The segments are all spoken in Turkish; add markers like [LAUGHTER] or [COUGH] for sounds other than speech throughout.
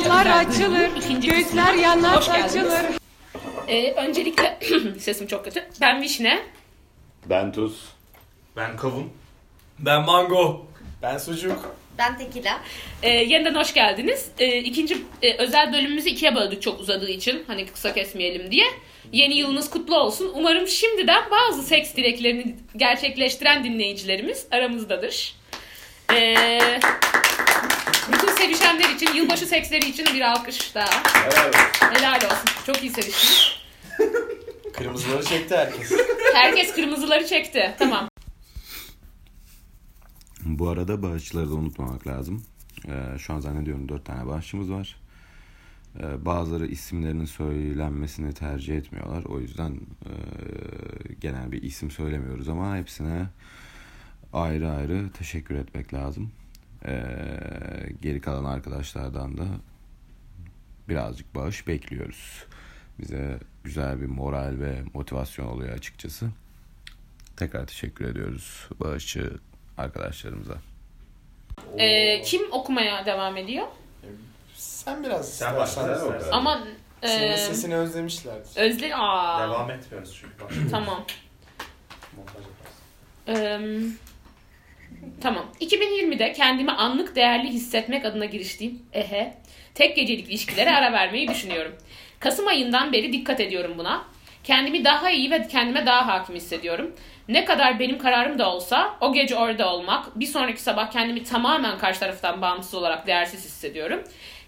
açılır. İkinci Göğüsler kısmına hoş yanlarsa geldiniz. açılır. Ee, öncelikle [CLEARS THROAT] sesim çok kötü. Ben Vişne. Ben tuz. Ben kavun. Ben mango. Ben sucuk. Ben tekila. Ee, yeniden hoş geldiniz. Ee, ikinci özel bölümümüzü ikiye böldük çok uzadığı için. Hani kısa kesmeyelim diye. Yeni yılınız kutlu olsun. Umarım şimdiden bazı seks dileklerini gerçekleştiren dinleyicilerimiz aramızdadır. Ee, bütün sevişenler için, yılbaşı seksleri için bir alkış daha. Helal olsun. Çok iyi seviştiniz. Kırmızıları çekti [LAUGHS] herkes. Herkes kırmızıları çekti. Tamam. Bu arada bağışçıları da unutmamak lazım. Ee, şu an zannediyorum dört tane bağışçımız var. Ee, bazıları isimlerinin söylenmesini tercih etmiyorlar. O yüzden e, genel bir isim söylemiyoruz ama hepsine ayrı ayrı teşekkür etmek lazım. Ee, geri kalan arkadaşlardan da birazcık bağış bekliyoruz. Bize güzel bir moral ve motivasyon oluyor açıkçası. Tekrar teşekkür ediyoruz bağışçı arkadaşlarımıza. Ee, kim okumaya devam ediyor? Sen biraz Sen başla. istersen. sen başla. Ama Senin e, sesini özlemişlerdir. Özle... Aa, Devam etmiyoruz çünkü. başka Tamam. montaj yaparız. Ee, tamam. 2020'de kendimi anlık değerli hissetmek adına giriştiğim ehe tek gecelik ilişkilere ara vermeyi düşünüyorum. Kasım ayından beri dikkat ediyorum buna. Kendimi daha iyi ve kendime daha hakim hissediyorum. Ne kadar benim kararım da olsa o gece orada olmak, bir sonraki sabah kendimi tamamen karşı taraftan bağımsız olarak değersiz hissediyorum.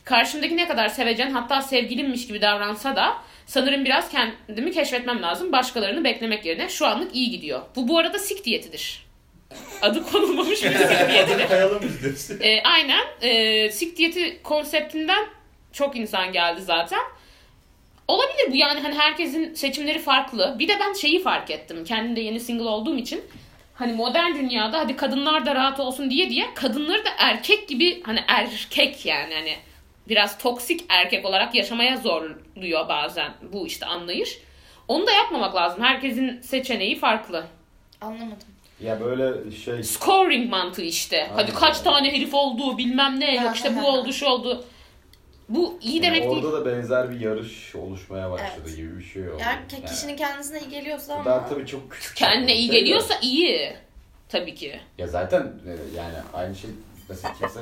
Karşımdaki ne kadar sevecen hatta sevgilimmiş gibi davransa da sanırım biraz kendimi keşfetmem lazım. Başkalarını beklemek yerine şu anlık iyi gidiyor. Bu bu arada sik diyetidir. Adı konulmamış bir sik diyetidir. Kayalım biz diyorsun. E, aynen. E, sik diyeti konseptinden çok insan geldi zaten. Olabilir bu yani hani herkesin seçimleri farklı. Bir de ben şeyi fark ettim. Kendim de yeni single olduğum için. Hani modern dünyada hadi kadınlar da rahat olsun diye diye kadınları da erkek gibi hani erkek yani hani biraz toksik erkek olarak yaşamaya zorluyor bazen bu işte anlayış. Onu da yapmamak lazım. Herkesin seçeneği farklı. Anlamadım. Ya böyle şey scoring mantığı işte. Hadi kaç tane herif oldu bilmem ne yok işte bu oldu şu oldu. Bu iyi yani demek değil. orada da benzer bir yarış oluşmaya başladı Evet. gibi bir şey oldu. Yani ke- kişinin kendisine iyi geliyorsa yani, ama daha tabii çok küçük. Kendine bir iyi şey geliyorsa iyi. Tabii ki. Ya zaten e, yani aynı şey mesela kimse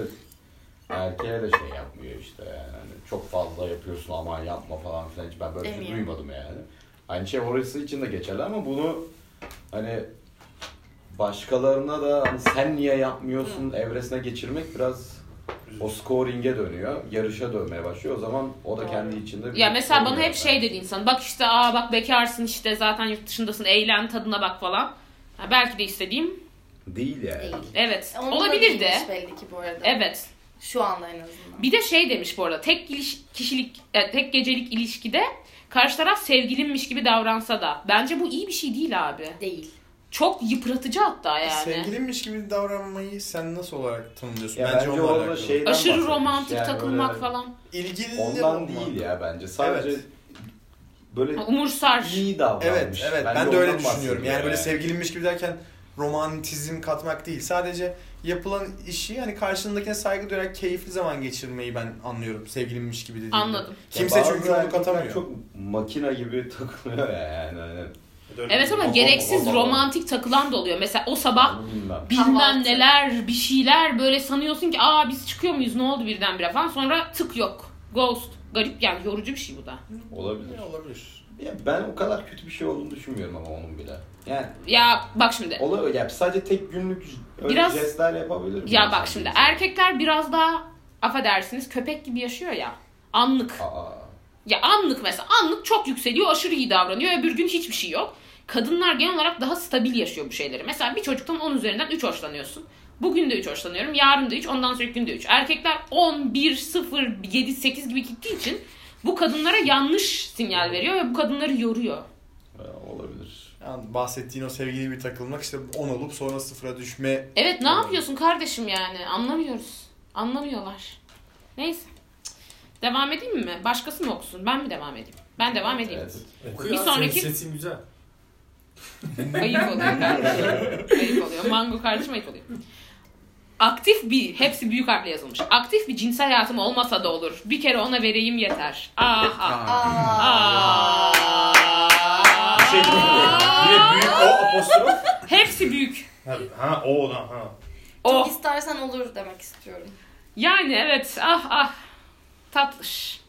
erkeğe de şey yapmıyor işte yani. Hani çok fazla yapıyorsun aman yapma falan filan hiç ben böyle bir şey Demiyor. duymadım yani. Aynı şey orası için de geçerli ama bunu hani başkalarına da hani sen niye yapmıyorsun evresine geçirmek biraz o scoring'e dönüyor. Yarışa dönmeye başlıyor. O zaman o da kendi içinde bir Ya mesela bana sorun hep şey dedi insan. Bak işte aa bak bekarsın işte zaten yurt dışındasın eğlen tadına bak falan. Ha, belki de istediğim Değil yani. değil. evet Onun da şey. olabilir de. değilmiş belli ki bu arada. Evet. Şu anda en azından. Bir de şey demiş bu arada tek giliş- kişilik e, tek gecelik ilişkide karşı taraf sevgilinmiş gibi davransa da bence bu iyi bir şey değil abi. Değil. Çok yıpratıcı hatta yani. Sevgilinmiş gibi davranmayı sen nasıl olarak tanımlıyorsun? Ya bence, onunla alakalı. şeyden Aşırı bahsetmiş. romantik Yani takılmak böyle falan. İlgili Ondan değil ya bence. Sadece Evet. böyle Umursar. iyi davranmış. Evet, evet. Ben, Bence de öyle düşünüyorum. ondan bahsediyor Yani böyle sevgilinmiş gibi derken romantizm katmak değil. Sadece yapılan işi hani karşındakine saygı duyarak keyifli zaman geçirmeyi ben anlıyorum. Sevgilinmiş gibi dediğimde. Anladım. Kimse Ya bazı çünkü onu erkekler katamıyor. Çok makina gibi takılıyor ya yani. Hani, Evet ama Baba, gereksiz baba, baba. romantik takılan da oluyor. Mesela o sabah onu bilmem. bilmem Kahvaltı. neler bir şeyler böyle sanıyorsun ki aa biz çıkıyor muyuz ne oldu birdenbire falan sonra tık yok. Ghost. Garip yani yorucu bir şey bu da. Olabilir. Olabilir. Ya ben o kadar kötü bir şey olduğunu düşünmüyorum ama onun bile. Yani Ya bak şimdi. olabilir. Ya sadece tek günlük öyle Biraz- jestler yapabilir. Ya insan bak şimdi er- birisi. erkekler biraz daha affedersiniz köpek gibi yaşıyor ya. Anlık. Aa. Ya anlık mesela anlık çok yükseliyor aşırı iyi davranıyor öbür gün hiçbir şey yok. Kadınlar genel olarak daha stabil yaşıyor bu şeyleri. Mesela bir çocuktan 10 üzerinden 3 hoşlanıyorsun. Bugün de 3 hoşlanıyorum, yarın da 3, ondan sonraki gün de 3. Erkekler 10, 1, 0, 7, 8 gibi gittiği için bu kadınlara yanlış sinyal veriyor ve bu kadınları yoruyor. Ya Olabilir. Yani bahsettiğin o sevgili bir takılmak işte 10 olup sonra sıfıra düşme Evet ne yapıyorsun kardeşim yani anlamıyoruz. Anlamıyorlar. Neyse. Devam edeyim mi? Başkası mı okusun? Ben mi devam edeyim? Ben devam edeyim. Evet. Bir sonraki- Sesin güzel. Ayıp oluyor kardeşim. ayıp oluyor. Mango kardeşim ayıp oluyor. Aktif bir, hepsi büyük harfle yazılmış. Aktif bir cinsel hayatım olmasa da olur. Bir kere ona vereyim yeter. Aha. [LAUGHS] Aa. Aa. Şey gibi. Bir de büyük o apostrof. Hepsi büyük. Ha, ha o olan ha. Oh. Çok istersen olur demek istiyorum. Yani evet. Ah ah. Tatlış.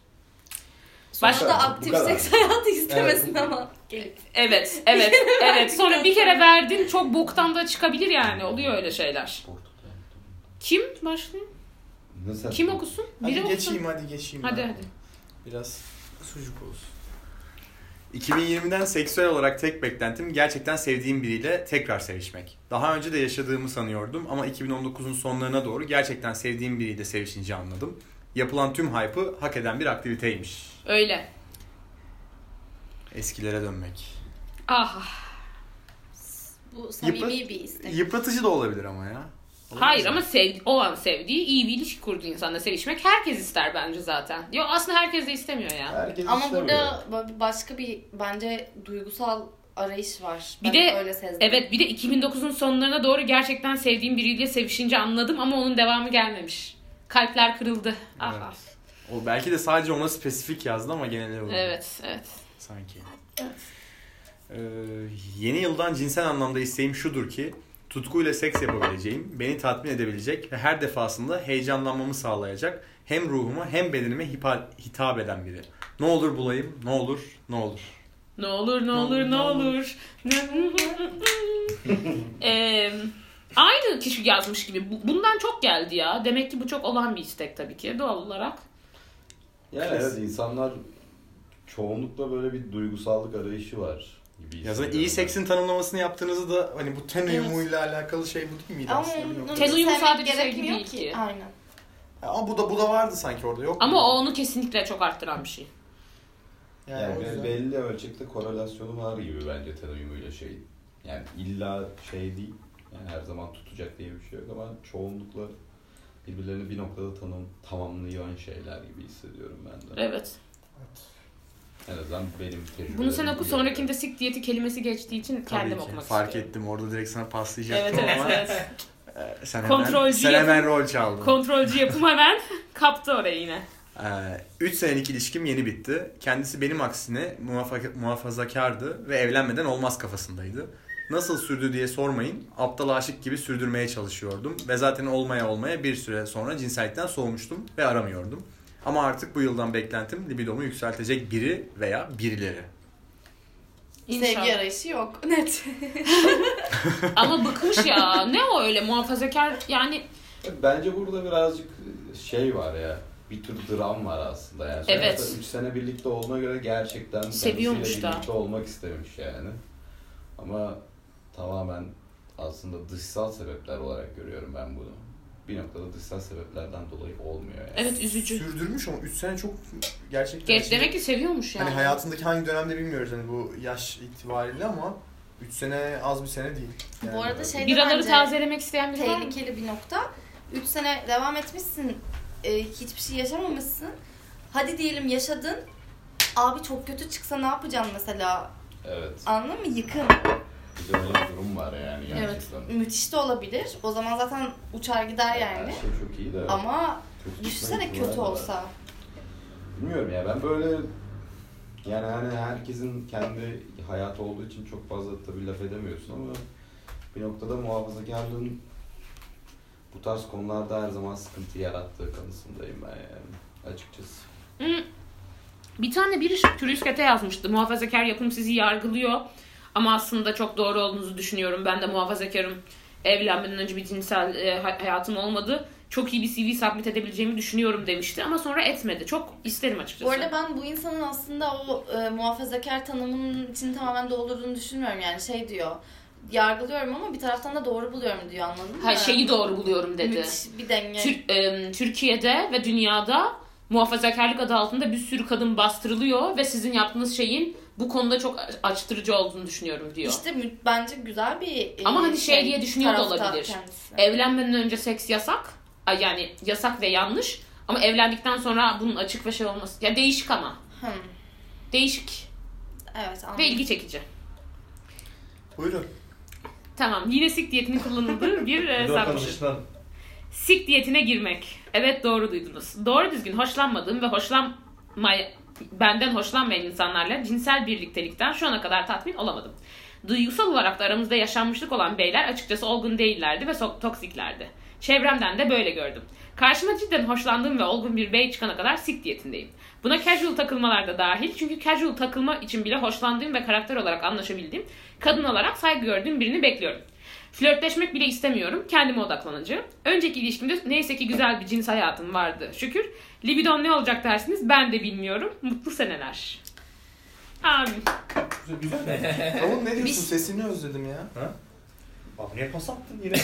Başka da Bu aktif kadar. seks hayatı istemesin ama. Gelip. Evet, evet, evet. Sonra bir kere verdin çok boktan da çıkabilir yani. Oluyor öyle şeyler. Kim başlıyor? Nasıl? Kim okusun? Hadi Biri geçeyim okusun. hadi geçeyim. Hadi ben. hadi. Biraz sucuk olsun. 2020'den seksüel olarak tek beklentim gerçekten sevdiğim biriyle tekrar sevişmek. Daha önce de yaşadığımı sanıyordum ama 2019'un sonlarına doğru gerçekten sevdiğim biriyle sevişince anladım. Yapılan tüm hype'ı hak eden bir aktiviteymiş. Öyle. Eskilere dönmek. Ah. Bu samimi Yıprat- bir istek. Yıpratıcı da olabilir ama ya. Hayır ama sev, o an sevdiği iyi bir ilişki kurduğu insanla sevişmek herkes ister bence zaten. Yo aslında herkes de istemiyor ya. Herkes Ama istemiyor. burada böyle başka bir bence duygusal arayış var. Bir Ben de- öyle sezdim. Evet bir de 2009'un sonlarına doğru gerçekten sevdiğim biriyle sevişince anladım ama onun devamı gelmemiş. Kalpler kırıldı. Ah ah. O belki de sadece ona spesifik yazdı ama genel olarak. Evet, evet. Sanki. Ee, yeni yıldan cinsel anlamda isteğim şudur ki tutkuyla seks yapabileceğim, beni tatmin edebilecek ve her defasında heyecanlanmamı sağlayacak hem ruhuma hem bedenime hipa- hitap eden biri. Ne olur bulayım, ne olur, ne olur. Ne olur ne olur ne olur. [LAUGHS] Eee, aynı kişi yazmış gibi. Bu- Bundan çok geldi ya. Demek ki bu çok olan bir istek tabii ki doğal olarak. Yani evet insanlar çoğunlukla böyle bir duygusallık arayışı var. Gibi Ya zaten hissediyorum iyi ben. seksin tanımlamasını yaptığınızı da hani bu ten uyumuyla alakalı şey bu değil miydi Ama aslında? bir onu nokta? Ten uyumu sevmek sadece sevgi gerekmiyor değil ki. Aynen. Ama bu da bu da vardı sanki orada yok. Ama mu? o onu kesinlikle çok arttıran bir şey. yani, Yani o be- yüzden- belli ölçekte korelasyonu var gibi bence ten uyumuyla şey. Yani illa şey değil. Yani her zaman tutacak diye bir şey yok ama çoğunlukla birbirlerini bir noktada tanım, tamamlayan şeyler gibi hissediyorum ben de. Evet. En azından benim tecrübelerim. Bunu sen oku bu yönde. sonrakinde sik diyeti kelimesi geçtiği için Tabii kendim ki. okumak Fark istiyorum. ettim orada direkt sana Evet paslayacaktım evet ama [LAUGHS] evet. e, sen hemen, Kontrolcü sen yapın. hemen rol çaldın. Kontrolcü yapım hemen kaptı orayı yine. 3 Ee, senelik ilişkim yeni bitti. Kendisi benim aksine muhafa- muhafazakardı ve evlenmeden olmaz kafasındaydı. Nasıl sürdü diye sormayın. Aptal aşık gibi sürdürmeye çalışıyordum. Ve zaten olmaya olmaya bir süre sonra cinsellikten soğumuştum ve aramıyordum. Ama artık bu yıldan beklentim libidomu yükseltecek biri veya birileri. Sevgi İnşallah. arayışı yok. [LAUGHS] Net. Ama bıkmış ya. Ne o öyle muhafazakar yani Bence burada birazcık şey var ya. Bir tür dram var aslında yani. Evet. 3 sene birlikte olduğuna göre gerçekten Seviyormuş kendisiyle da. birlikte olmak istemiş yani. Ama tamamen aslında dışsal sebepler olarak görüyorum ben bunu. Bir noktada dışsal sebeplerden dolayı olmuyor yani. evet üzücü. Sürdürmüş ama 3 sene çok gerçekten... Geç demek ki seviyormuş yani. Hani hayatındaki hangi dönemde bilmiyoruz hani bu yaş itibariyle ama 3 sene az bir sene değil. Bu arada şey de Biraları bence tazelemek isteyen biri var mı? tehlikeli bir nokta. 3 sene devam etmişsin. e, hiçbir şey yaşamamışsın. Hadi diyelim yaşadın. Abi çok kötü çıksa ne yapacaksın mesela? Evet. Anladın mı? Yıkım. Bir de öyle bir durum var yani Evet. gerçekten. Müthiş de olabilir. O zaman zaten uçar gider Her yani. şey çok iyi de. Ama kötü düşünsene gitme ihtimali kötü var. olsa. Bilmiyorum ya ben böyle yani hani herkesin kendi hayatı olduğu için çok fazla tabii laf edemiyorsun ama bir noktada muhafazakarlığın bu tarz konularda her zaman sıkıntı yarattığı kanısındayım ben yani açıkçası. Bir tane biri Türüsket'e yazmıştı. Muhafazakar yapım sizi yargılıyor. Ama aslında çok doğru olduğunuzu düşünüyorum. Ben de muhafazakarım. Evlenmeden önce bir cinsel e, hay- hayatım olmadı. Çok iyi bir CV submit edebileceğimi düşünüyorum demişti. Ama sonra etmedi. Çok isterim açıkçası. Bu arada ben bu insanın aslında o e, muhafazakar tanımının için tamamen doldurduğunu düşünmüyorum yani şey diyor. Yargılıyorum ama bir taraftan da doğru buluyorum diyor anladın mı? ha, şeyi doğru buluyorum dedi. Müthiş bir denge. Tür- e, Türkiye'de ve dünyada muhafazakarlık adı altında bir sürü kadın bastırılıyor ve sizin yaptığınız şeyin bu konuda çok açtırıcı olduğunu düşünüyorum diyor. İşte mü- bence güzel bir e, Ama hani şey diye düşünüyor da taraftar olabilir. E- kendisi. Evlenmeden önce seks yasak. Ay Yani yasak ve yanlış. Ama evlendikten sonra bunun açık ve şey olması. Ya değişik ama. Hmm, Değişik Evet anladım. ve ilgi çekici. Buyurun. Tamam. Yine sik diyetini kullanıldığı bir e, Bir de o sarmışız. [LAUGHS] tanıştan Sik diyetine girmek. Evet doğru duydunuz. Doğru düzgün hoşlanmadığım ve hoşlanmay benden hoşlanmayan insanlarla cinsel birliktelikten şu ana kadar tatmin olamadım. Duygusal olarak da aramızda yaşanmışlık olan beyler açıkçası olgun değillerdi ve so- toksiklerdi. Çevremden de böyle gördüm. Karşıma cidden hoşlandığım ve olgun bir bey çıkana kadar sik diyetindeyim. Buna casual takılmalar da dahil çünkü casual takılma için bile hoşlandığım ve karakter olarak anlaşabildiğim, kadın olarak saygı gördüğüm birini bekliyorum. Flörtleşmek bile istemiyorum. Kendime odaklanacağım. Önceki ilişkimde neyse ki güzel bir cins hayatım vardı. Şükür. Libidon ne olacak dersiniz ben de bilmiyorum. Mutlu seneler. Abi. Oğlum ne diyorsun? Sesini özledim ya. Abi niye pas attın [LAUGHS] yine?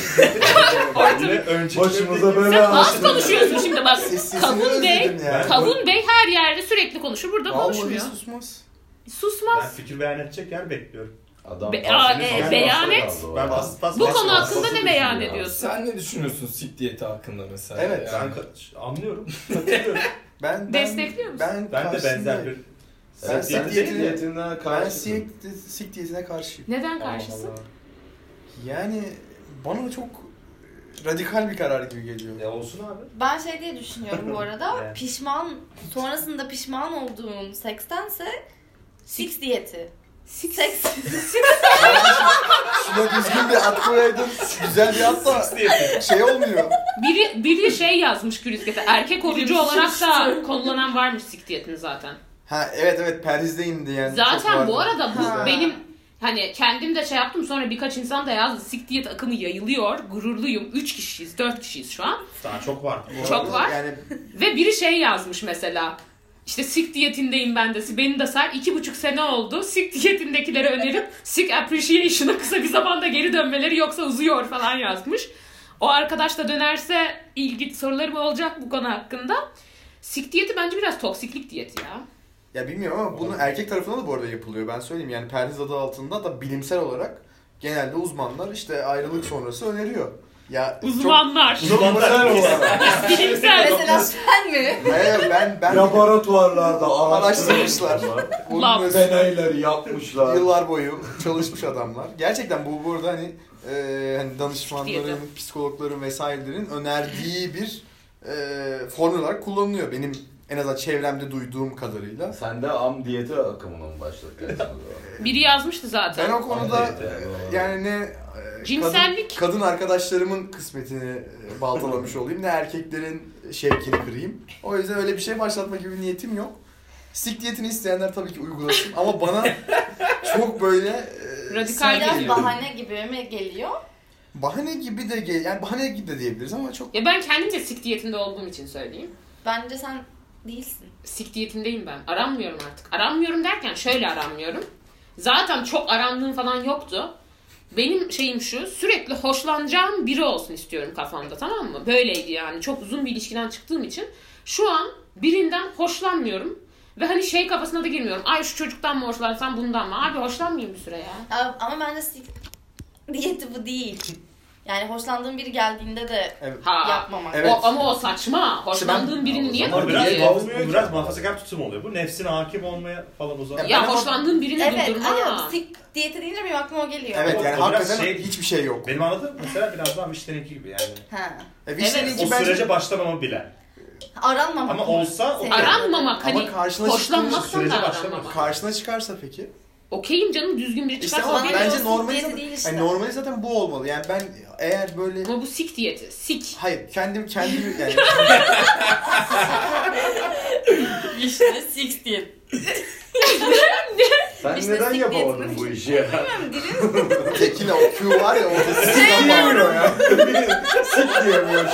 Yine önce Başımıza böyle Sen az konuşuyorsun şimdi bak. Sesini Kavun Bey. özledim ya. Kavun Bey her yerde sürekli konuşur. Burada Vallahi konuşmuyor. susmaz. Ben Susmaz. fikir beyan edecek yer bekliyorum. Adam Be- bahsini Aa, falan e, başladı beyan et. galiba. Ben pas pas Bu pas- konu pas- hakkında pas- ne beyan ediyorsun? Sen ne düşünüyorsun sik diyeti hakkında mesela? Evet, Yani Ben ka- anlıyorum. [LAUGHS] Katılıyorum. Ben, ben, Destekliyor musun? Ben, ben de benzer karşısındayım. bir. Ben Evet, sen sik sik diyetine- diyetinden Ben karşısın. sik, sik diyetine karşıyım. Neden karşısın? Yani bana çok radikal bir karar gibi geliyor. Ya olsun abi. Ben şey diye düşünüyorum [LAUGHS] bu arada. Evet. pişman, sonrasında pişman olduğun sekstense six diyeti. Sik. Seks. [LAUGHS] Şuna düzgün bir at koyaydın, güzel bir at da şey olmuyor. Biri, biri şey yazmış Kürüsket'e. Erkek orucu olarak da kullanılan varmış sik diyetini zaten. Ha evet evet perhizdeyimdi yani. Çok Zaten vardı. bu arada bu Ha. benim hani kendim de şey yaptım sonra birkaç insan da yazdı. Sik diyet akımı yayılıyor. Gururluyum. 3 kişiyiz, 4 kişiyiz şu an. Daha çok var. Bu çok arada var. Yani Ve biri şey yazmış mesela. İşte sik diyetindeyim ben de. Beni de sar. iki buçuk sene oldu. Sik diyetindekilere önerip sik appreciation'a kısa bir zamanda geri dönmeleri yoksa uzuyor falan yazmış. O arkadaş da dönerse ilgi sorularım olacak bu konu hakkında. Sik diyeti bence biraz toksiklik diyeti ya. ya bilmiyorum ama bunu erkek tarafına da bu arada yapılıyor ben söyleyeyim. Yani perhiz adı altında da bilimsel olarak genelde uzmanlar işte ayrılık sonrası öneriyor. Ya çok- Uzmanlar. Bilimsel olarak. [LAUGHS] Bilimsel. Mesela sen mi? Hayır, ben ben [LAUGHS] Laboratuvarlarda araştırmışlar. Lab. Bunun üstüne- Deneyleri yapmışlar. Yıllar boyu çalışmış adamlar. Gerçekten bu burada hani, e, hani danışmanların, Diyelim. psikologların vesairelerin önerdiği bir e, formül olarak kullanılıyor. Benim en azından çevremde duyduğum kadarıyla. Sen de am diyeti akımına mı başladın? Biri yazmıştı zaten. Ben o konuda Evet, evet, doğru. e, yani ne e, Cinsellik. kadın, kadın arkadaşlarımın kısmetini e, [LAUGHS] baltalamış olayım ne erkeklerin şevkini kırayım. O yüzden öyle bir şey başlatma gibi bir niyetim yok. Sik diyetini isteyenler tabii ki uygulasın ama bana çok böyle e, Radikal sert Biraz geliyor. bahane gibi mi geliyor? Bahane gibi de gel yani bahane gibi de diyebiliriz ama çok Ya ben kendimce sik diyetinde olduğum için söyleyeyim. Bence sen değilsin. Sik diyetindeyim ben. Aranmıyorum artık. Aranmıyorum derken şöyle aranmıyorum. Zaten çok arandığım falan yoktu. Benim şeyim şu, sürekli hoşlanacağım biri olsun istiyorum kafamda tamam mı? Böyleydi yani. Çok uzun bir ilişkiden çıktığım için şu an birinden hoşlanmıyorum. Ve hani şey kafasına da girmiyorum. Ay şu çocuktan mı hoşlansam bundan mı? Abi hoşlanmayayım bir süre ya. Ya, Ama bence six diyeti bu değil. Yani hoşlandığın biri geldiğinde de evet. Ha. yapmamak. Evet. O, ama o saçma. Hoşlandığım birini niye Ama biraz, durdurayım? biraz, biraz muhafazakar tutum oluyor. Bu nefsine hakim olmaya falan o zaman. Ben Ya ama- hoşlandığım birini Evet, durdurma. aynen. Sik diyeti deyince benim aklıma o geliyor. Evet O- yani o biraz hakikaten şey- hiçbir şey yok. Benim anladığım mesela biraz daha müşterek gibi yani. Ha. E, Vişne'nin Evet. ki O bence- sürece başlamama bile. Aranmamak. Ama mı? olsa o Senin- Aranmamak Ama hani karşına hoşlanmaktan çıktığınız da sürece aranmamak. başlamak. karşına çıkarsa peki? Okeyim canım düzgün biri İşte çıkarsa ama ben- okey. bence E, olsun, normali diyeti zaten, değil işte. yani normali zaten bu olmalı. Yani ben eğer böyle Ama bu sik diyeti. [LAUGHS] Sik. hayır kendim kendimi yani İşte six diyeti. Sen İşte neden sik yapamadın diyetinin bu işi [LAUGHS] ya? Dilin tekila o Q var ya orada sıçramıyor ya. Sik diyemiyor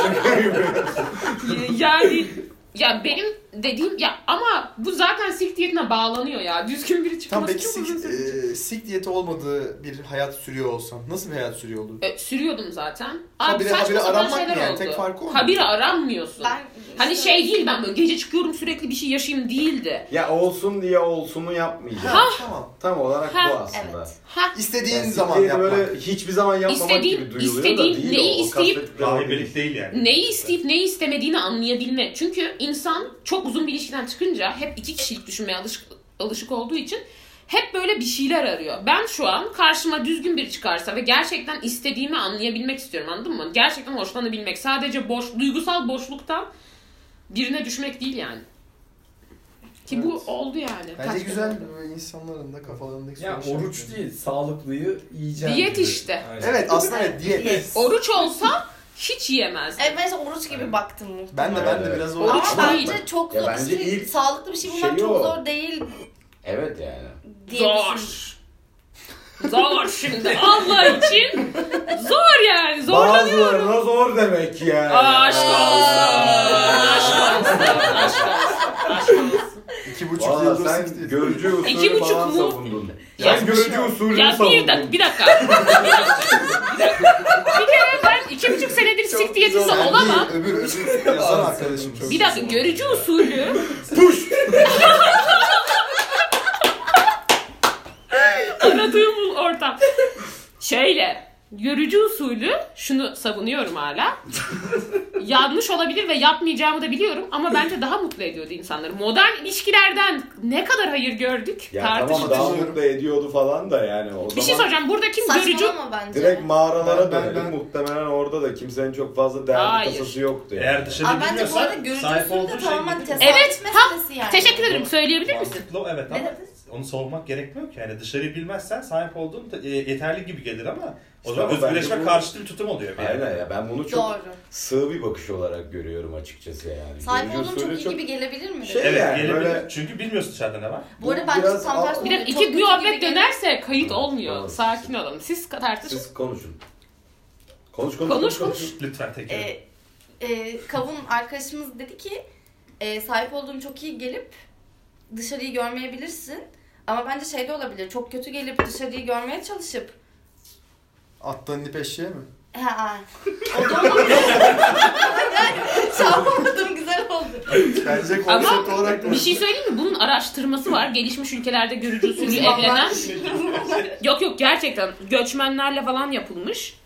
şimdi. yani ya benim dediğim ya ama bu zaten sik diyetine bağlanıyor ya. Düzgün biri Tam çıkması belki çok uzun sik, sürecek. e, sik diyeti olmadığı bir hayat sürüyor olsan nasıl bir hayat sürüyor olurdu? E, sürüyordum zaten. Abi Habire- saçma habire sapan aranmak şeyler yani, oldu. tek farkı o mu? Habire aranmıyorsun. ben... [LAUGHS] Hani şey değil ben böyle gece çıkıyorum sürekli bir şey yaşayayım değildi. Ya olsun diye olsunu yapmayacağım. Tamam. Tam olarak Ha, bu aslında. evet. Ha İstediğin Yani zaman siktiğini yapmak. böyle hiçbir zaman yapmamak İstediğin- gibi duyuluyor istediğin- da değil neyi o. o. isteyip- kasvetli bir olay değil. Rahibelik değil yani. Neyi isteyip neyi istemediğini anlayabilmek. Çünkü insan çok uzun bir ilişkiden çıkınca hep iki kişilik düşünmeye alışık, alışık olduğu için hep böyle bir şeyler arıyor. Ben şu an karşıma düzgün biri çıkarsa ve gerçekten istediğimi anlayabilmek istiyorum anladın mı? Gerçekten hoşlanabilmek. Sadece boş, duygusal boşluktan birine düşmek değil yani. Ki bu Evet. oldu yani. Bence Kaç güzel böyle insanların da kafalarındaki Ya soru oruç işaretleri. değil, sağlıklıyı yiyeceğim. Diyet gibi. işte. Aynen. Evet aslında evet diyet. Yes. Oruç olsa hiç yiyemez. Evet ben işte oruç gibi baktım Ben muhtemelen. de ben de Evet. biraz Ama oruç. Ama- bence çok Ya zor. bence işte ilk sağlıklı bir şey bulmak şeyi çok o. zor değil Evet yani. diye düşünüyorum. Zor. Zor şimdi. [LAUGHS] Allah için zor yani. Zorlanıyor. Bazılarına zor demek yani. Aa, aşk olsun. Aşk olsun. Aşk olsun. Aşk olsun. İki buçuk Valla yıldır sen sen görücü İki usulü buçuk falan mu? savundun. Ya, şey Ben görücü usulünü ya bir, savundum. dak- bir dakika. Bir dakika. Bir kere ben iki buçuk senedir sik diyetisi olamam. Öbür öbür yazan arkadaşım çok. Bir dakika görücü usulü. Puş. Aradığım ortam. Şöyle. Görücü usulü şunu savunuyorum hala. Yanlış olabilir ve yapmayacağımı da biliyorum ama bence daha mutlu ediyordu insanları. Modern ilişkilerden ne kadar hayır gördük Ya tartışılır. tamam daha mutlu ediyordu falan da yani o Bir şey zaman soracağım. Burada kim görücü? Saçmalama bence. direkt Ben- mağaralara ben- döndü. ben- Muhtemelen orada da kimsenin çok fazla değerli Hayır. tasası yoktu yani. Eğer dışarı Abi bence bu arada bilmiyorsan görücü sahip usulü de olduğun şey tamamen getirmiyor. tesadüf Evet, meselesi yani. Teşekkür ederim. Söyleyebilir misin? Mantıklı evet Ne ama dedin? onu savunmak gerekmiyor ki. Yani dışarıyı bilmezsen sahip olduğun te- e, yeterli gibi gelir ama o İşte zaman ama bence özgürleşme bu- karşıtı bir tutum oluyor. Yani. Aynen ya ben bunu çok Doğru. sığ bir bakış olarak görüyorum açıkçası yani. Sahip Görücü olduğum çok usulü iyi gibi gelebilir mi? Şey- Evet Yani gelebilir. böyle- Çünkü bilmiyorsun dışarıda ne var. bu arada Bu bence biraz tam tersi al- Bir oluyor. dakika Çok iki kötü gibi muhabbet geliyor. dönerse kayıt olmuyor. Doğru. Sakin olun. Siz tartışın. Siz konuşun. Konuş konuş. Konuş konuş. Lütfen tekrar. e, e, kavun arkadaşımız dedi ki e, sahip olduğum çok iyi gelip dışarıyı görmeyebilirsin. Ama bence şey de olabilir. Çok kötü gelip dışarıyı görmeye çalışıp Attan ip eşeğe şey [LAUGHS] mi? ha o da olabilir. [LAUGHS] Çarpamadım güzel oldu. Bence Ama konsept olarak da. bir şey söyleyeyim mi? Bunun araştırması var. Gelişmiş ülkelerde görücü usulü Uzmanlar- evlenen. yok yok gerçekten göçmenlerle falan yapılmış.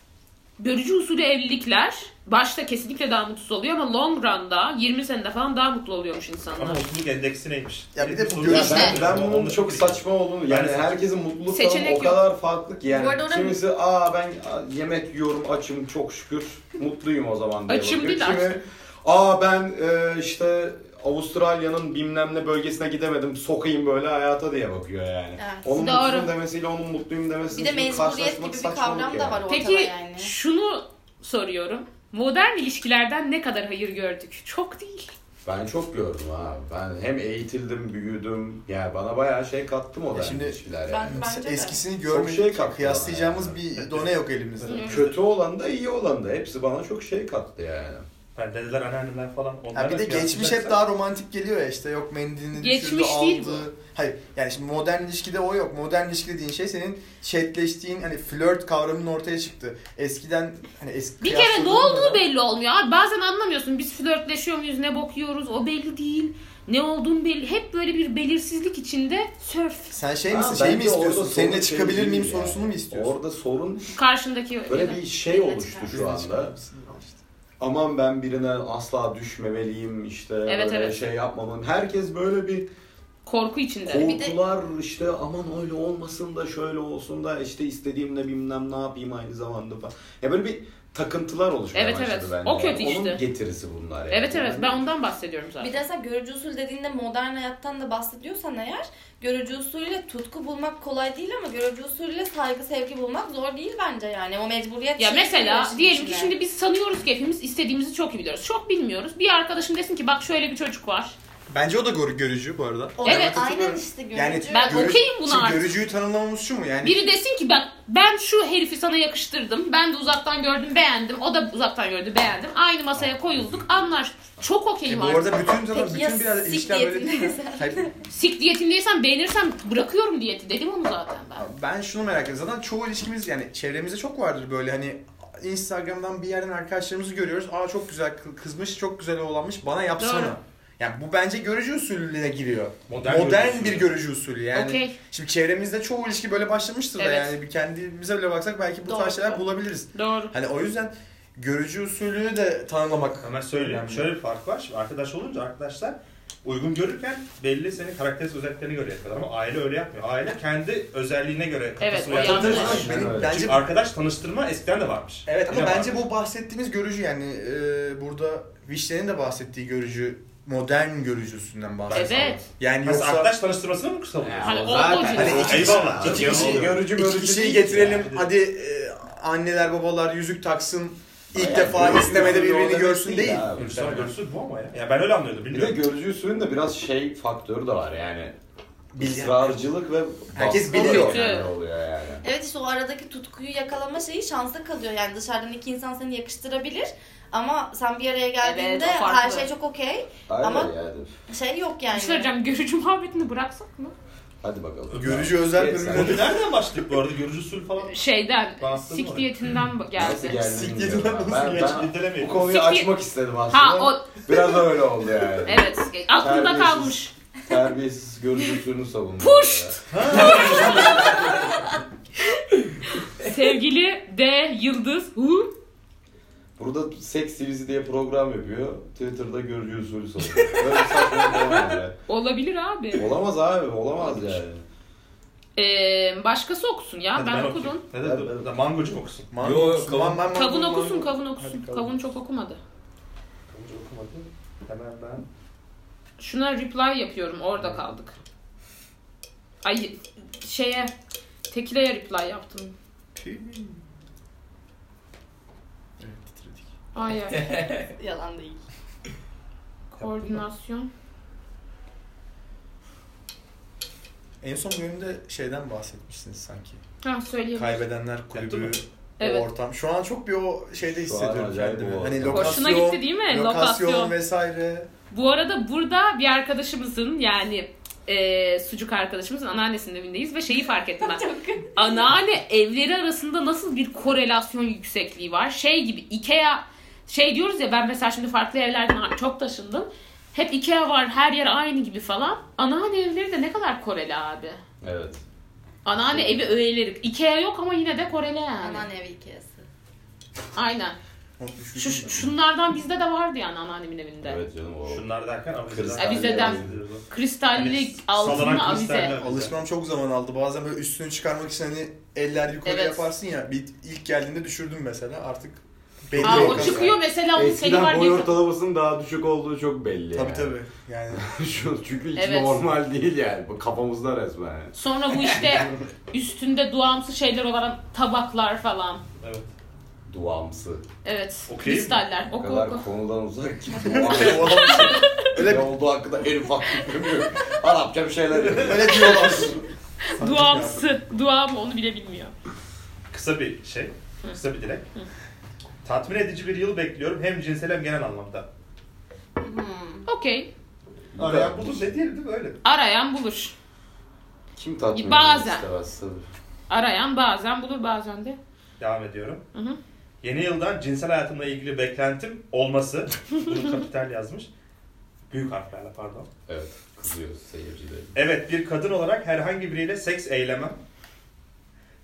Görücü usulü evlilikler başta kesinlikle daha mutsuz oluyor ama long run'da 20 senede falan daha mutlu oluyormuş Ama insanlar. mutluluk endeksi neymiş? Ya bir de bu Mutluluk- görüş- Ya İşte. ben, ben bunun Onu çok bilmiyorum. saçma olduğunu Ben yani de saçma. herkesin mutluluk Seçenek tanımı yok. o kadar farklı ki Bu arada yani ona- kimisi aa ben aa, yemek yiyorum açım çok şükür mutluyum o zaman diye Açım bakıyor. değil Kimi, aa ben e, işte Avustralya'nın bilmem ne bölgesine gidemedim sokayım böyle hayata diye bakıyor yani. Evet. Onun Doğru. mutluyum demesiyle onun mutluyum demesi Bir de mecburiyet gibi bir kavram da var ortada Peki yani. şunu soruyorum. Modern ilişkilerden ne kadar hayır gördük? Çok değil. Ben çok gördüm abi. Ben hem eğitildim, büyüdüm. Yani bana bayağı şey kattı modern E şimdi- ilişkiler yani. Ben, bence de. Eskisini şey görmedik. kattı kıyaslayacağımız bana bir done yok elimizde. Kötü olan da iyi olan da hepsi bana çok şey kattı yani. Yani dedeler, anneanneler falan. Ha onlarla bir de geçmiş hep kıyaslarsan- daha romantik geliyor ya işte yok mendilini Geçmiş düşürdü değil aldı. Hayır yani şimdi modern ilişkide o yok. Modern ilişki dediğin şey senin chatleştiğin hani flört kavramının ortaya çıktı. Eskiden hani eski Bir kere ne kıyasladığında olduğu belli olmuyor. Abi bazen anlamıyorsun. Biz flörtleşiyor muyuz, ne bakıyoruz o belli değil. Ne olduğun belli. Hep böyle bir belirsizlik içinde surf. Sen şey Ha, misin? Şey mi bence orada istiyorsun? sorun Seninle şey çıkabilir değil miyim yani. sorusunu mu istiyorsun? Orada sorun Karşındaki böyle bir şey oluştu şu Seninle çıkar anda. mısın? İşte. Aman ben birine asla düşmemeliyim işte Evet, böyle evet. şey yapmamalıyım. Herkes böyle bir korku içinde. bir de- korkular işte aman öyle olmasın da şöyle olsun da işte istediğimle bilmem ne yapayım aynı zamanda falan. Ya böyle bir takıntılar oluşmaya Evet, başladı evet. bende. O kötü yani. işte. Onun getirisi bunlar yani. Evet evet Yani ben ondan bahsediyorum zaten. Bir de mesela görücü usul dediğinde modern hayattan da bahsediyorsan eğer görücü usulüyle tutku bulmak kolay değil ama görücü usulüyle saygı sevgi bulmak zor değil bence yani. O mecburiyet Ya şeyi mesela giriyor işin diyelim ki içine. şimdi biz sanıyoruz ki hepimiz istediğimizi çok iyi biliyoruz. Çok bilmiyoruz. Bir arkadaşım desin ki bak şöyle bir çocuk var. Bence o da gor- görücü bu arada. O Evet, da aynen katılıyorum. işte görücü. Yani Ben Görü- şey, okeyim buna Şimdi artık. görücüyü tanımlamamız şu mu yani? Biri desin ki bak ben şu herifi sana yakıştırdım. Ben de uzaktan gördüm beğendim. O da uzaktan gördü beğendim. Aynı masaya koyulduk anlaştık. Çok E, okeyim bu artık. arada bütün zaten Peki ya bütün biraz sik ilişkiler böyle [LAUGHS] değil mi? diyetindeysen? Hayır, Sik diyetindeysen beğenirsem bırakıyorum diyeti. Dedim onu zaten ben. ben şunu merak ediyorum. Zaten çoğu ilişkimiz yani çevremizde çok vardır böyle hani Instagram'dan bir yerden arkadaşlarımızı görüyoruz. Aa çok güzel kı- kızmış, çok güzel oğlanmış. Bana yapsana. Doğru. Yani bu bence görücü usulüne giriyor. Modern Modern, görücü usulü. bir görücü usulü yani. Okey. Şimdi çevremizde çoğu ilişki böyle başlamıştır da Evet. yani bir kendimize bile baksak belki bu Doğru. tarz şeyler bulabiliriz. Doğru. Hani o yüzden görücü usulünü de tanımlamak. Hemen söyleyeyim. Önemli. Şöyle bir fark var. Şimdi arkadaş olunca arkadaşlar uygun görürken belli senin karakteristik özelliklerine göre yapıyorlar ama aile öyle yapmıyor. Aile kendi özelliğine göre Evet, o kafası yanlış. uyandığı için- Benim- Evet. bence Çünkü arkadaş tanıştırma eskiden de varmış. Evet ama Yine bence varmış. bu bahsettiğimiz görücü yani e, burada Vişne'nin de bahsettiği görücü modern görücüsünden bahsediyor. Evet. Yani Mesela yoksa arkadaş tanıştırmasını mı savunuyorsun? Hani o, o Zaten- ciddi. hani iki kişi, Eyvallah. iki Eyvallah. kişi, Görücü iki mörücü kişiyi değil getirelim yani. hadi e, anneler babalar yüzük taksın ilk Yani defa görücü istemede usulü o birbirini demek görsün değil. abi. Görüşler görüşü bu ama ya. Ya ben öyle anlıyordum Bir de bilmiyorum. görücü usulünün de biraz şey faktörü de var yani. Bilgi- Israrcılık ve Herkes baskı da biliyor. önemli oluyor yani. Evet işte o aradaki tutkuyu yakalama şeyi şansa kalıyor. Yani dışarıdan iki insan seni yakıştırabilir. Ama sen bir araya geldiğinde Evet, o farklı. her şey çok okey. Aynen Ama- yani. Şey yok Bir yani. şey söyleyeceğim. Görücü muhabbetini bıraksak mı? Hadi bakalım. Görücü özel Evet, bölümünde sen- Onu nereden başladık bu arada? Görücü usul falan. Şeyden, Bastın mı? siktiyetinden Nasıl geldi. geldi Siktir bilmiyorum. lan, nasıl Ben, Geç ben bu dinlemeyelim. konuyu Siktir- açmak istedim aslında. Ha o Biraz da öyle oldu yani. evet aklımda Terbiyesiz. kalmış. Terbiyesiz görücü usulünü savundum. Puşt! Sevgili D Yıldız Hu Burada seks TV diye program yapıyor. Twitter'da görücü usulü savunuyor. Böyle saçma olamaz ya. olabilir abi. Olamaz abi, olamaz yani. Ee, başkası okusun ya. Hadi ben, okuyayım. okudum. Hadi, hadi, hadi. Mangocu kokusun. Man- Yo, Man- kavun- man- man- Kavun man- okusun, man- kavun okusun. Hadi kavun. Kavun çok okumadı. Mangocu okumadı. Hemen ben. Şuna reply yapıyorum. Orada kaldık. Ay şeye Tekile'ye reply yaptım. Şey Evet, titredik. Ay [LAUGHS] ay. Yalan değil. Koordinasyon. En son bölümde şeyden bahsetmişsiniz sanki. Ha söyleyeyim. Kaybedenler Yaptın mı? kulübü, Evet. o ortam. Şu an çok bir o şeyde Şu an hissediyorum acayip kendimi. o Hani ortam. lokasyon, Hoşuna gitti değil mi? lokasyon, Lokasyon. vesaire. Bu arada burada bir arkadaşımızın yani e, sucuk arkadaşımızın anneannesinin evindeyiz ve şeyi fark ettim ben. Anneanne evleri arasında nasıl bir korelasyon yüksekliği var? Şey gibi Ikea şey diyoruz ya ben mesela şimdi farklı evlerden çok taşındım. Hep Ikea var her yer aynı gibi falan. Anneanne evleri de ne kadar koreli abi. Evet. Anneanne evi öğeleri. Ikea yok ama yine de koreli yani. Anan evi ikiyesi. Aynen. Şu, şunlardan bizde de vardı yani anneannemin evinde. Evet canım o. Şunlar derken Kristal avizeden. Abi zeden. Kristalli Hani altınlı salanak avize. kristalli Alışmam çok zaman aldı. Bazen böyle üstünü çıkarmak için hani eller yukarı Evet. yaparsın ya. Bir, ilk geldiğinde düşürdüm mesela. Artık belli Aa, o lokasyon. çıkıyor mesela onun seni var Eskiden boy diye. ortalamasının daha düşük olduğu çok belli. Tabii yani. tabii. Yani [LAUGHS] [LAUGHS] Şu- Çünkü hiç Evet. normal değil yani. Bu kafamızda resmen. yani. Sonra bu işte üstünde duamsı şeyler olan tabaklar falan. Evet. Duamsı. Evet. Okey mi? kristaller. O Oku kadar oku. konudan uzak ki. [LAUGHS] Duamsı. o adam için ne olduğu hakkında en ufak fikrim yok. Arapça bir [LAUGHS] şeyler yapıyor. öyle diyorlar. Duamsı. Dua mı onu bile bilmiyor. Kısa bir şey. Kısa bir dilek. Tatmin edici bir yıl bekliyorum hem cinsel hem genel anlamda. Okey. Arayan buldum ne diyelim değil mi öyle? Arayan bulur. Kim tatmin edilmek Bazen. istemez tabii. Arayan bazen bulur bazen de. Devam ediyorum. Hı hı. Yeni yıldan cinsel hayatımla ilgili beklentim [LAUGHS] olması. Bunu kapital yazmış. Büyük harflerle pardon. Evet. Kızıyoruz seyircileri. Evet bir kadın olarak herhangi biriyle seks eylemem.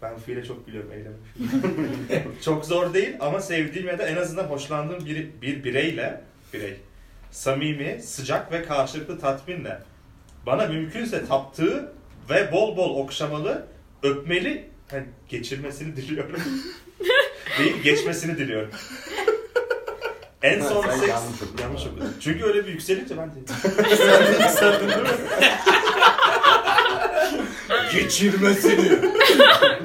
Ben bu fiile çok gülüyorum eylemem. [LAUGHS] çok zor değil ama sevdiğim ya da en azından hoşlandığım bir, bir bireyle birey samimi, sıcak ve karşılıklı tatminle bana mümkünse taptığı ve bol bol okşamalı, öpmeli hani [LAUGHS] geçirmesini diliyorum. Değil, geçmesini diliyorum. En Ha, son sen seks... yanlış okudun. Yanlış okudum. Çünkü öyle bir yükselince ben de... [LAUGHS] Geçirmesini.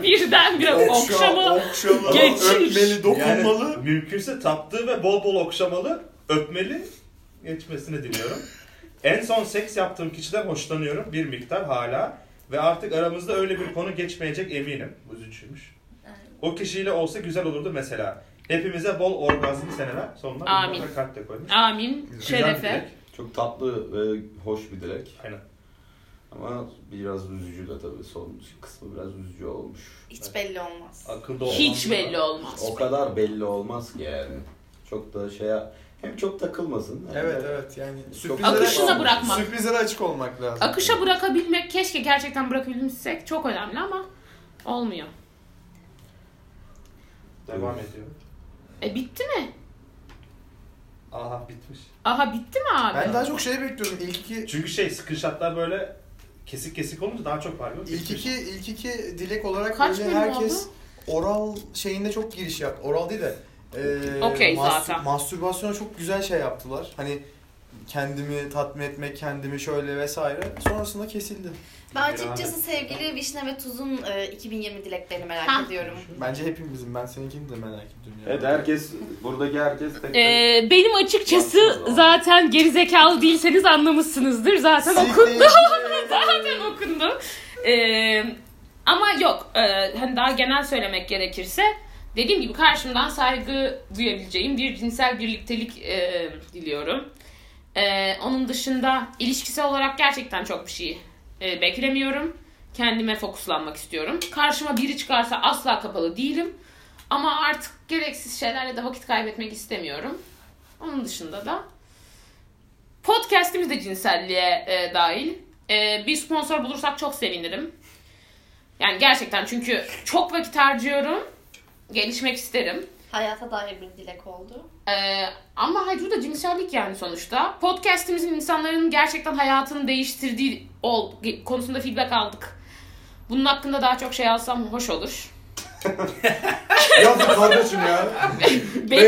Birden biraz [LAUGHS] okşama. okşama, Geçir. öpmeli, dokunmalı. Yani mümkünse taptığı ve bol bol okşamalı, öpmeli, geçmesini diliyorum. en son seks yaptığım kişiden hoşlanıyorum bir miktar hala ve artık aramızda öyle bir konu geçmeyecek eminim. Bu üzücüymüş. O kişiyle olsa güzel olurdu mesela. Hepimize bol orgazmlı seneler. Sonuna Amin. bir tane kalp de koymuş. Amin. Güzel bir Şerefe. dilek. Çok tatlı ve hoş bir dilek. Aynen. Ama biraz üzücü de tabii. Son kısmı biraz üzücü olmuş. Hiç belli olmaz. Akılda olmaz. Hiç belli olmaz. O kadar belli olmaz ki yani. Çok da şey... Hem çok takılmasın. hem de- Evet evet yani sürprizlere, Akışına bırakmak. sürprizlere açık olmak lazım. Akışa bırakabilmek keşke gerçekten bırakabilmişsek çok önemli ama olmuyor. Devam ediyorum. E bitti mi? Aha bitmiş. Aha bitti mi abi? Ben daha çok şey bekliyorum. İlk iki Çünkü şey screenshotlar böyle kesik kesik olunca daha çok var. İlk iki, ilk iki dilek olarak Kaç böyle bölüm herkes oral şeyinde çok giriş yaptı. Oral değil de e, Okey zaten. mastürbasyona çok güzel şey yaptılar. Hani kendimi tatmin etmek, kendimi şöyle vesaire. Sonrasında kesildi. Ben açıkçası sevgili Vişne ve Tuz'un e, 2020 dileklerini merak Ha. ediyorum. Bence hepimizin. Ben seninkini de merak ediyorum. yani. Evet herkes, buradaki herkes tek tek... Ee, benim açıkçası zaten gerizekalı değilseniz anlamışsınızdır. Zaten okun, Siktir. zaten okundu. Ee, ama yok, e, hani daha genel söylemek gerekirse dediğim gibi karşımdan saygı duyabileceğim bir cinsel birliktelik e, diliyorum. E, onun dışında ilişkisel olarak gerçekten çok bir şey e, beklemiyorum. Kendime fokuslanmak istiyorum. Karşıma biri çıkarsa asla kapalı değilim. Ama artık gereksiz şeylerle de vakit kaybetmek istemiyorum. Onun dışında da podcast'imiz de cinselliğe e, dahil. E, bir sponsor bulursak çok sevinirim. Yani gerçekten çünkü çok vakit harcıyorum. Gelişmek isterim. Hayata dair bir dilek oldu. Ee, ama hayır bu da cinsellik yani sonuçta. Podcast'imizin insanların gerçekten hayatını değiştirdiği ol, konusunda feedback aldık. Bunun hakkında daha çok şey alsam hoş olur. [LAUGHS] Yazın [LAUGHS] kardeşim ya. Beni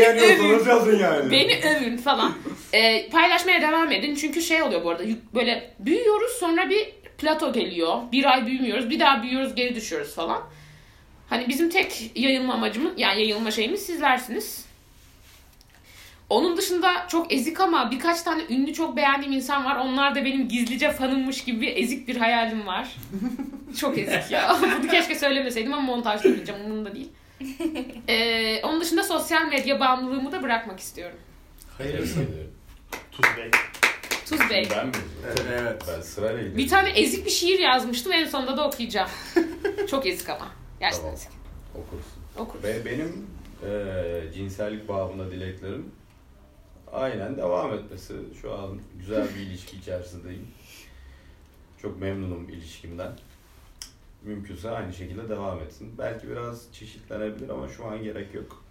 övün, Beğeniyorsanız yazın yani. beni övün falan. Ee, paylaşmaya devam edin çünkü şey oluyor bu arada yük- böyle büyüyoruz sonra bir plato geliyor. Bir ay büyümüyoruz bir daha büyüyoruz geri düşüyoruz falan. Hani bizim tek yayılma amacımız yani yayılma şeyimiz sizlersiniz. Onun dışında çok ezik ama birkaç tane ünlü çok beğendiğim insan var. Onlar da benim gizlice fanımmış gibi ezik bir hayalim var. çok ezik ya. [LAUGHS] Bunu keşke söylemeseydim ama montajda söyleyeceğim. Umurumda değil. Ee, onun dışında sosyal medya bağımlılığımı da bırakmak istiyorum. Hayırlısı. Tuz Bey. Tuz Bey. Ben mi? Evet. Ben sırayla gidiyorum. Bir tane ezik bir şiir yazmıştım. En sonunda da okuyacağım. çok ezik ama. Gerçekten Tamam. ezik. Okursun. Okur. Be- benim eee, cinsellik babında dileklerim aynen devam etmesi. Şu an güzel bir ilişki içerisindeyim. Çok memnunum ilişkimden. Mümkünse aynı şekilde devam etsin. Belki biraz çeşitlenebilir ama şu an gerek yok.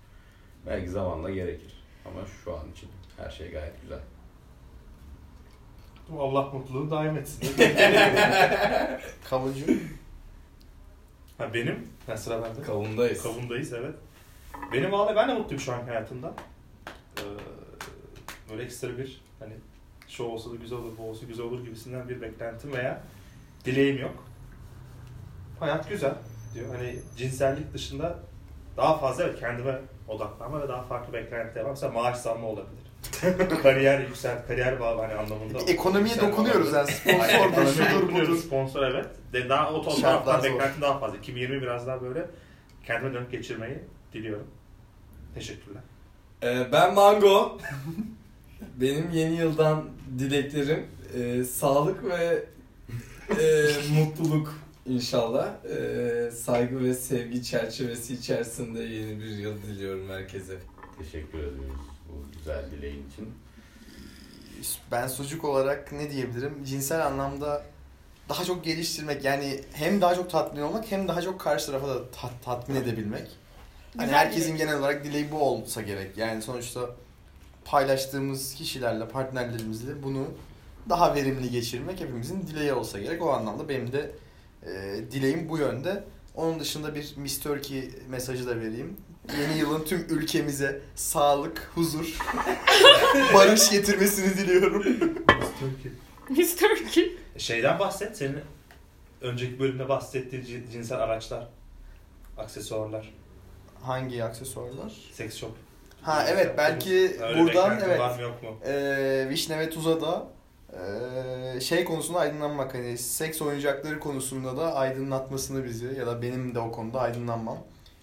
Belki zamanla gerekir. Ama şu an için her şey gayet güzel. Allah mutluluğu daim etsin. [LAUGHS] Kavucu. ha benim? Ha sıra bende. Kavundayız. Kavundayız evet. Benim valla ben de mutluyum şu an hayatımda. Ee, böyle ekstra bir hani şu olsa da güzel olur, bu olsa güzel olur gibisinden bir beklentim veya dileğim yok. Hayat güzel diyor. Hani cinsellik dışında daha fazla evet, kendime odaklanma ve daha farklı beklentiler var. Mesela maaş zammı [LAUGHS] olabilir. kariyer yüksel, kariyer bağlı hani anlamında. Ekonomiye Yüksel dokunuyoruz olabilir. yani. Aynen, Sponsordur, ekonomiye şudur dokunuyoruz, budur. Sponsor evet. De, daha o Şartlar toplamda zor. beklentim daha fazla. 2020 biraz daha böyle kendime dönüp geçirmeyi diliyorum. Teşekkürler. Ee, ben Mango. [LAUGHS] Benim yeni yıldan dileklerim e, sağlık ve e, mutluluk inşallah. E, saygı ve sevgi çerçevesi içerisinde yeni bir yıl diliyorum herkese. Teşekkür ediyoruz bu güzel dileğin için. Ben sucuk olarak ne diyebilirim? Cinsel anlamda daha çok geliştirmek yani hem daha çok tatmin olmak hem daha çok karşı tarafa da ta- tatmin edebilmek. Hani Güzel herkesin dilek. genel olarak dileği bu olsa gerek. Yani sonuçta paylaştığımız kişilerle, partnerlerimizle bunu daha verimli geçirmek hepimizin dileği olsa gerek. O anlamda benim de e, dileğim bu yönde. Onun dışında bir Miss Turkey mesajı da vereyim. Yeni yılın tüm ülkemize sağlık, huzur, barış getirmesini diliyorum. Miss Turkey. Şeyden bahset. Senin önceki bölümde bahsettiğin cin- cinsel araçlar, aksesuarlar, Hangi aksesuarlar? seks shop. Ha evet belki Öyle buradan beklentin evet Var mı yok mu? e, Vişne ve Tuz'a da e, şey konusunda aydınlanmak hani seks oyuncakları konusunda da aydınlatmasını bizi ya da benim de o konuda aydınlanmam.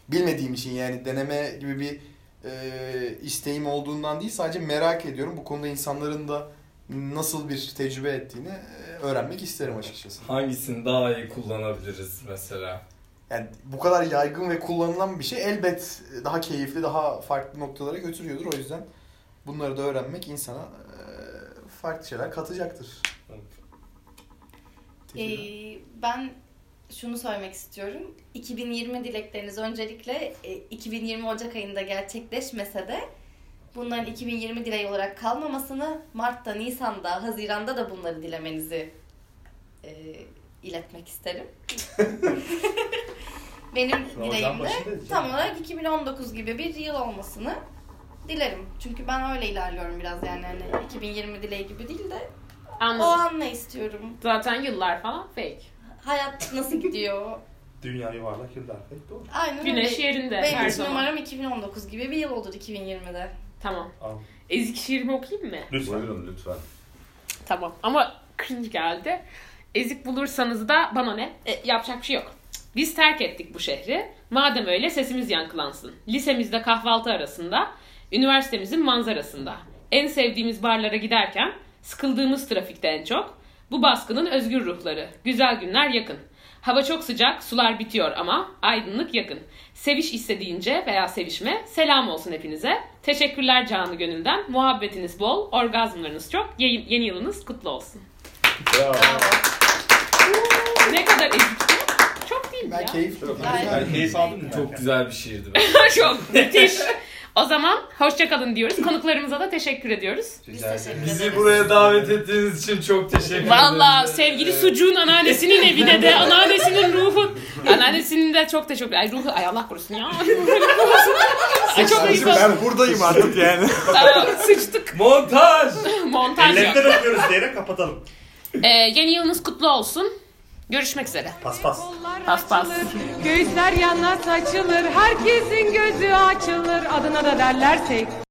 Bilmediğim için yani deneme gibi bir e, isteğim olduğundan değil sadece merak ediyorum. Bu konuda insanların da nasıl bir tecrübe ettiğini e, öğrenmek isterim açıkçası. Hangisini daha iyi kullanabiliriz mesela? Yani bu kadar yaygın ve kullanılan bir şey elbet daha keyifli, daha farklı noktalara götürüyordur. O yüzden bunları da öğrenmek insana eee, farklı şeyler katacaktır. Teşekkürler. Ee, ben şunu söylemek istiyorum. 2020 dilekleriniz öncelikle e, 2020 Ocak ayında gerçekleşmese de Bunların 2020 dileği olarak kalmamasını Mart'ta, Nisan'da, Haziran'da da bunları dilemenizi e, iletmek isterim. Benim Ramazan dileğim de başında diyeceğim. tam olarak 2019 gibi bir yıl olmasını dilerim. Çünkü ben öyle ilerliyorum biraz yani hani 2020 dileği gibi değil de o Anladım. an ne istiyorum? Zaten yıllar falan fake. Hayat nasıl [LAUGHS] gidiyor? Dünya yuvarlak yıllar. Pek doğru. Aynen Güneş öyle. yerinde Benim her için zaman. umarım 2019 gibi bir yıl olur 2020'de. Tamam. Al. Ezik şiirimi okuyayım mı? Lütfen. Buyurun lütfen. Tamam. Ama cringe geldi. Ezik bulursanız da bana ne? E, yapacak bir şey yok. Biz terk ettik bu şehri. Madem öyle sesimiz yankılansın. Lisemizde kahvaltı arasında, üniversitemizin manzarasında. En sevdiğimiz barlara giderken, sıkıldığımız trafikte en çok. Bu baskının özgür ruhları. Güzel günler yakın. Hava çok sıcak, sular bitiyor ama aydınlık yakın. Seviş istediğince veya sevişme selam olsun hepinize. Teşekkürler canı gönülden. Muhabbetiniz bol, orgazmlarınız çok. Yeni, yeni yılınız kutlu olsun. Bravo. Ne kadar ezikti. Çok değil mi Ben ya? keyif çok. Aynen. Yani keyif aldın mı? Çok güzel bir şiirdi. çok müthiş. O zaman hoşçakalın diyoruz. Konuklarımıza da teşekkür ediyoruz. Biz Rica teşekkür ederiz. Bizi buraya davet ettiğiniz için çok teşekkür ederim. Valla sevgili Ee, sucuğun anneannesinin evine de anneannesinin ruhu anneannesinin de çok teşekkür Ay ruhu ay Allah korusun ya. Ay, çok iyi Ben buradayım artık yani. Aa, Sıçtık. Montaj! Montaj yok. Ellerinden öpüyoruz diyerek kapatalım. Ee, yeni yılınız kutlu olsun. Görüşmek üzere. Pas pas. Pas pas. Göğüsler yana saçılır, herkesin gözü açılır. Adına da derler tek.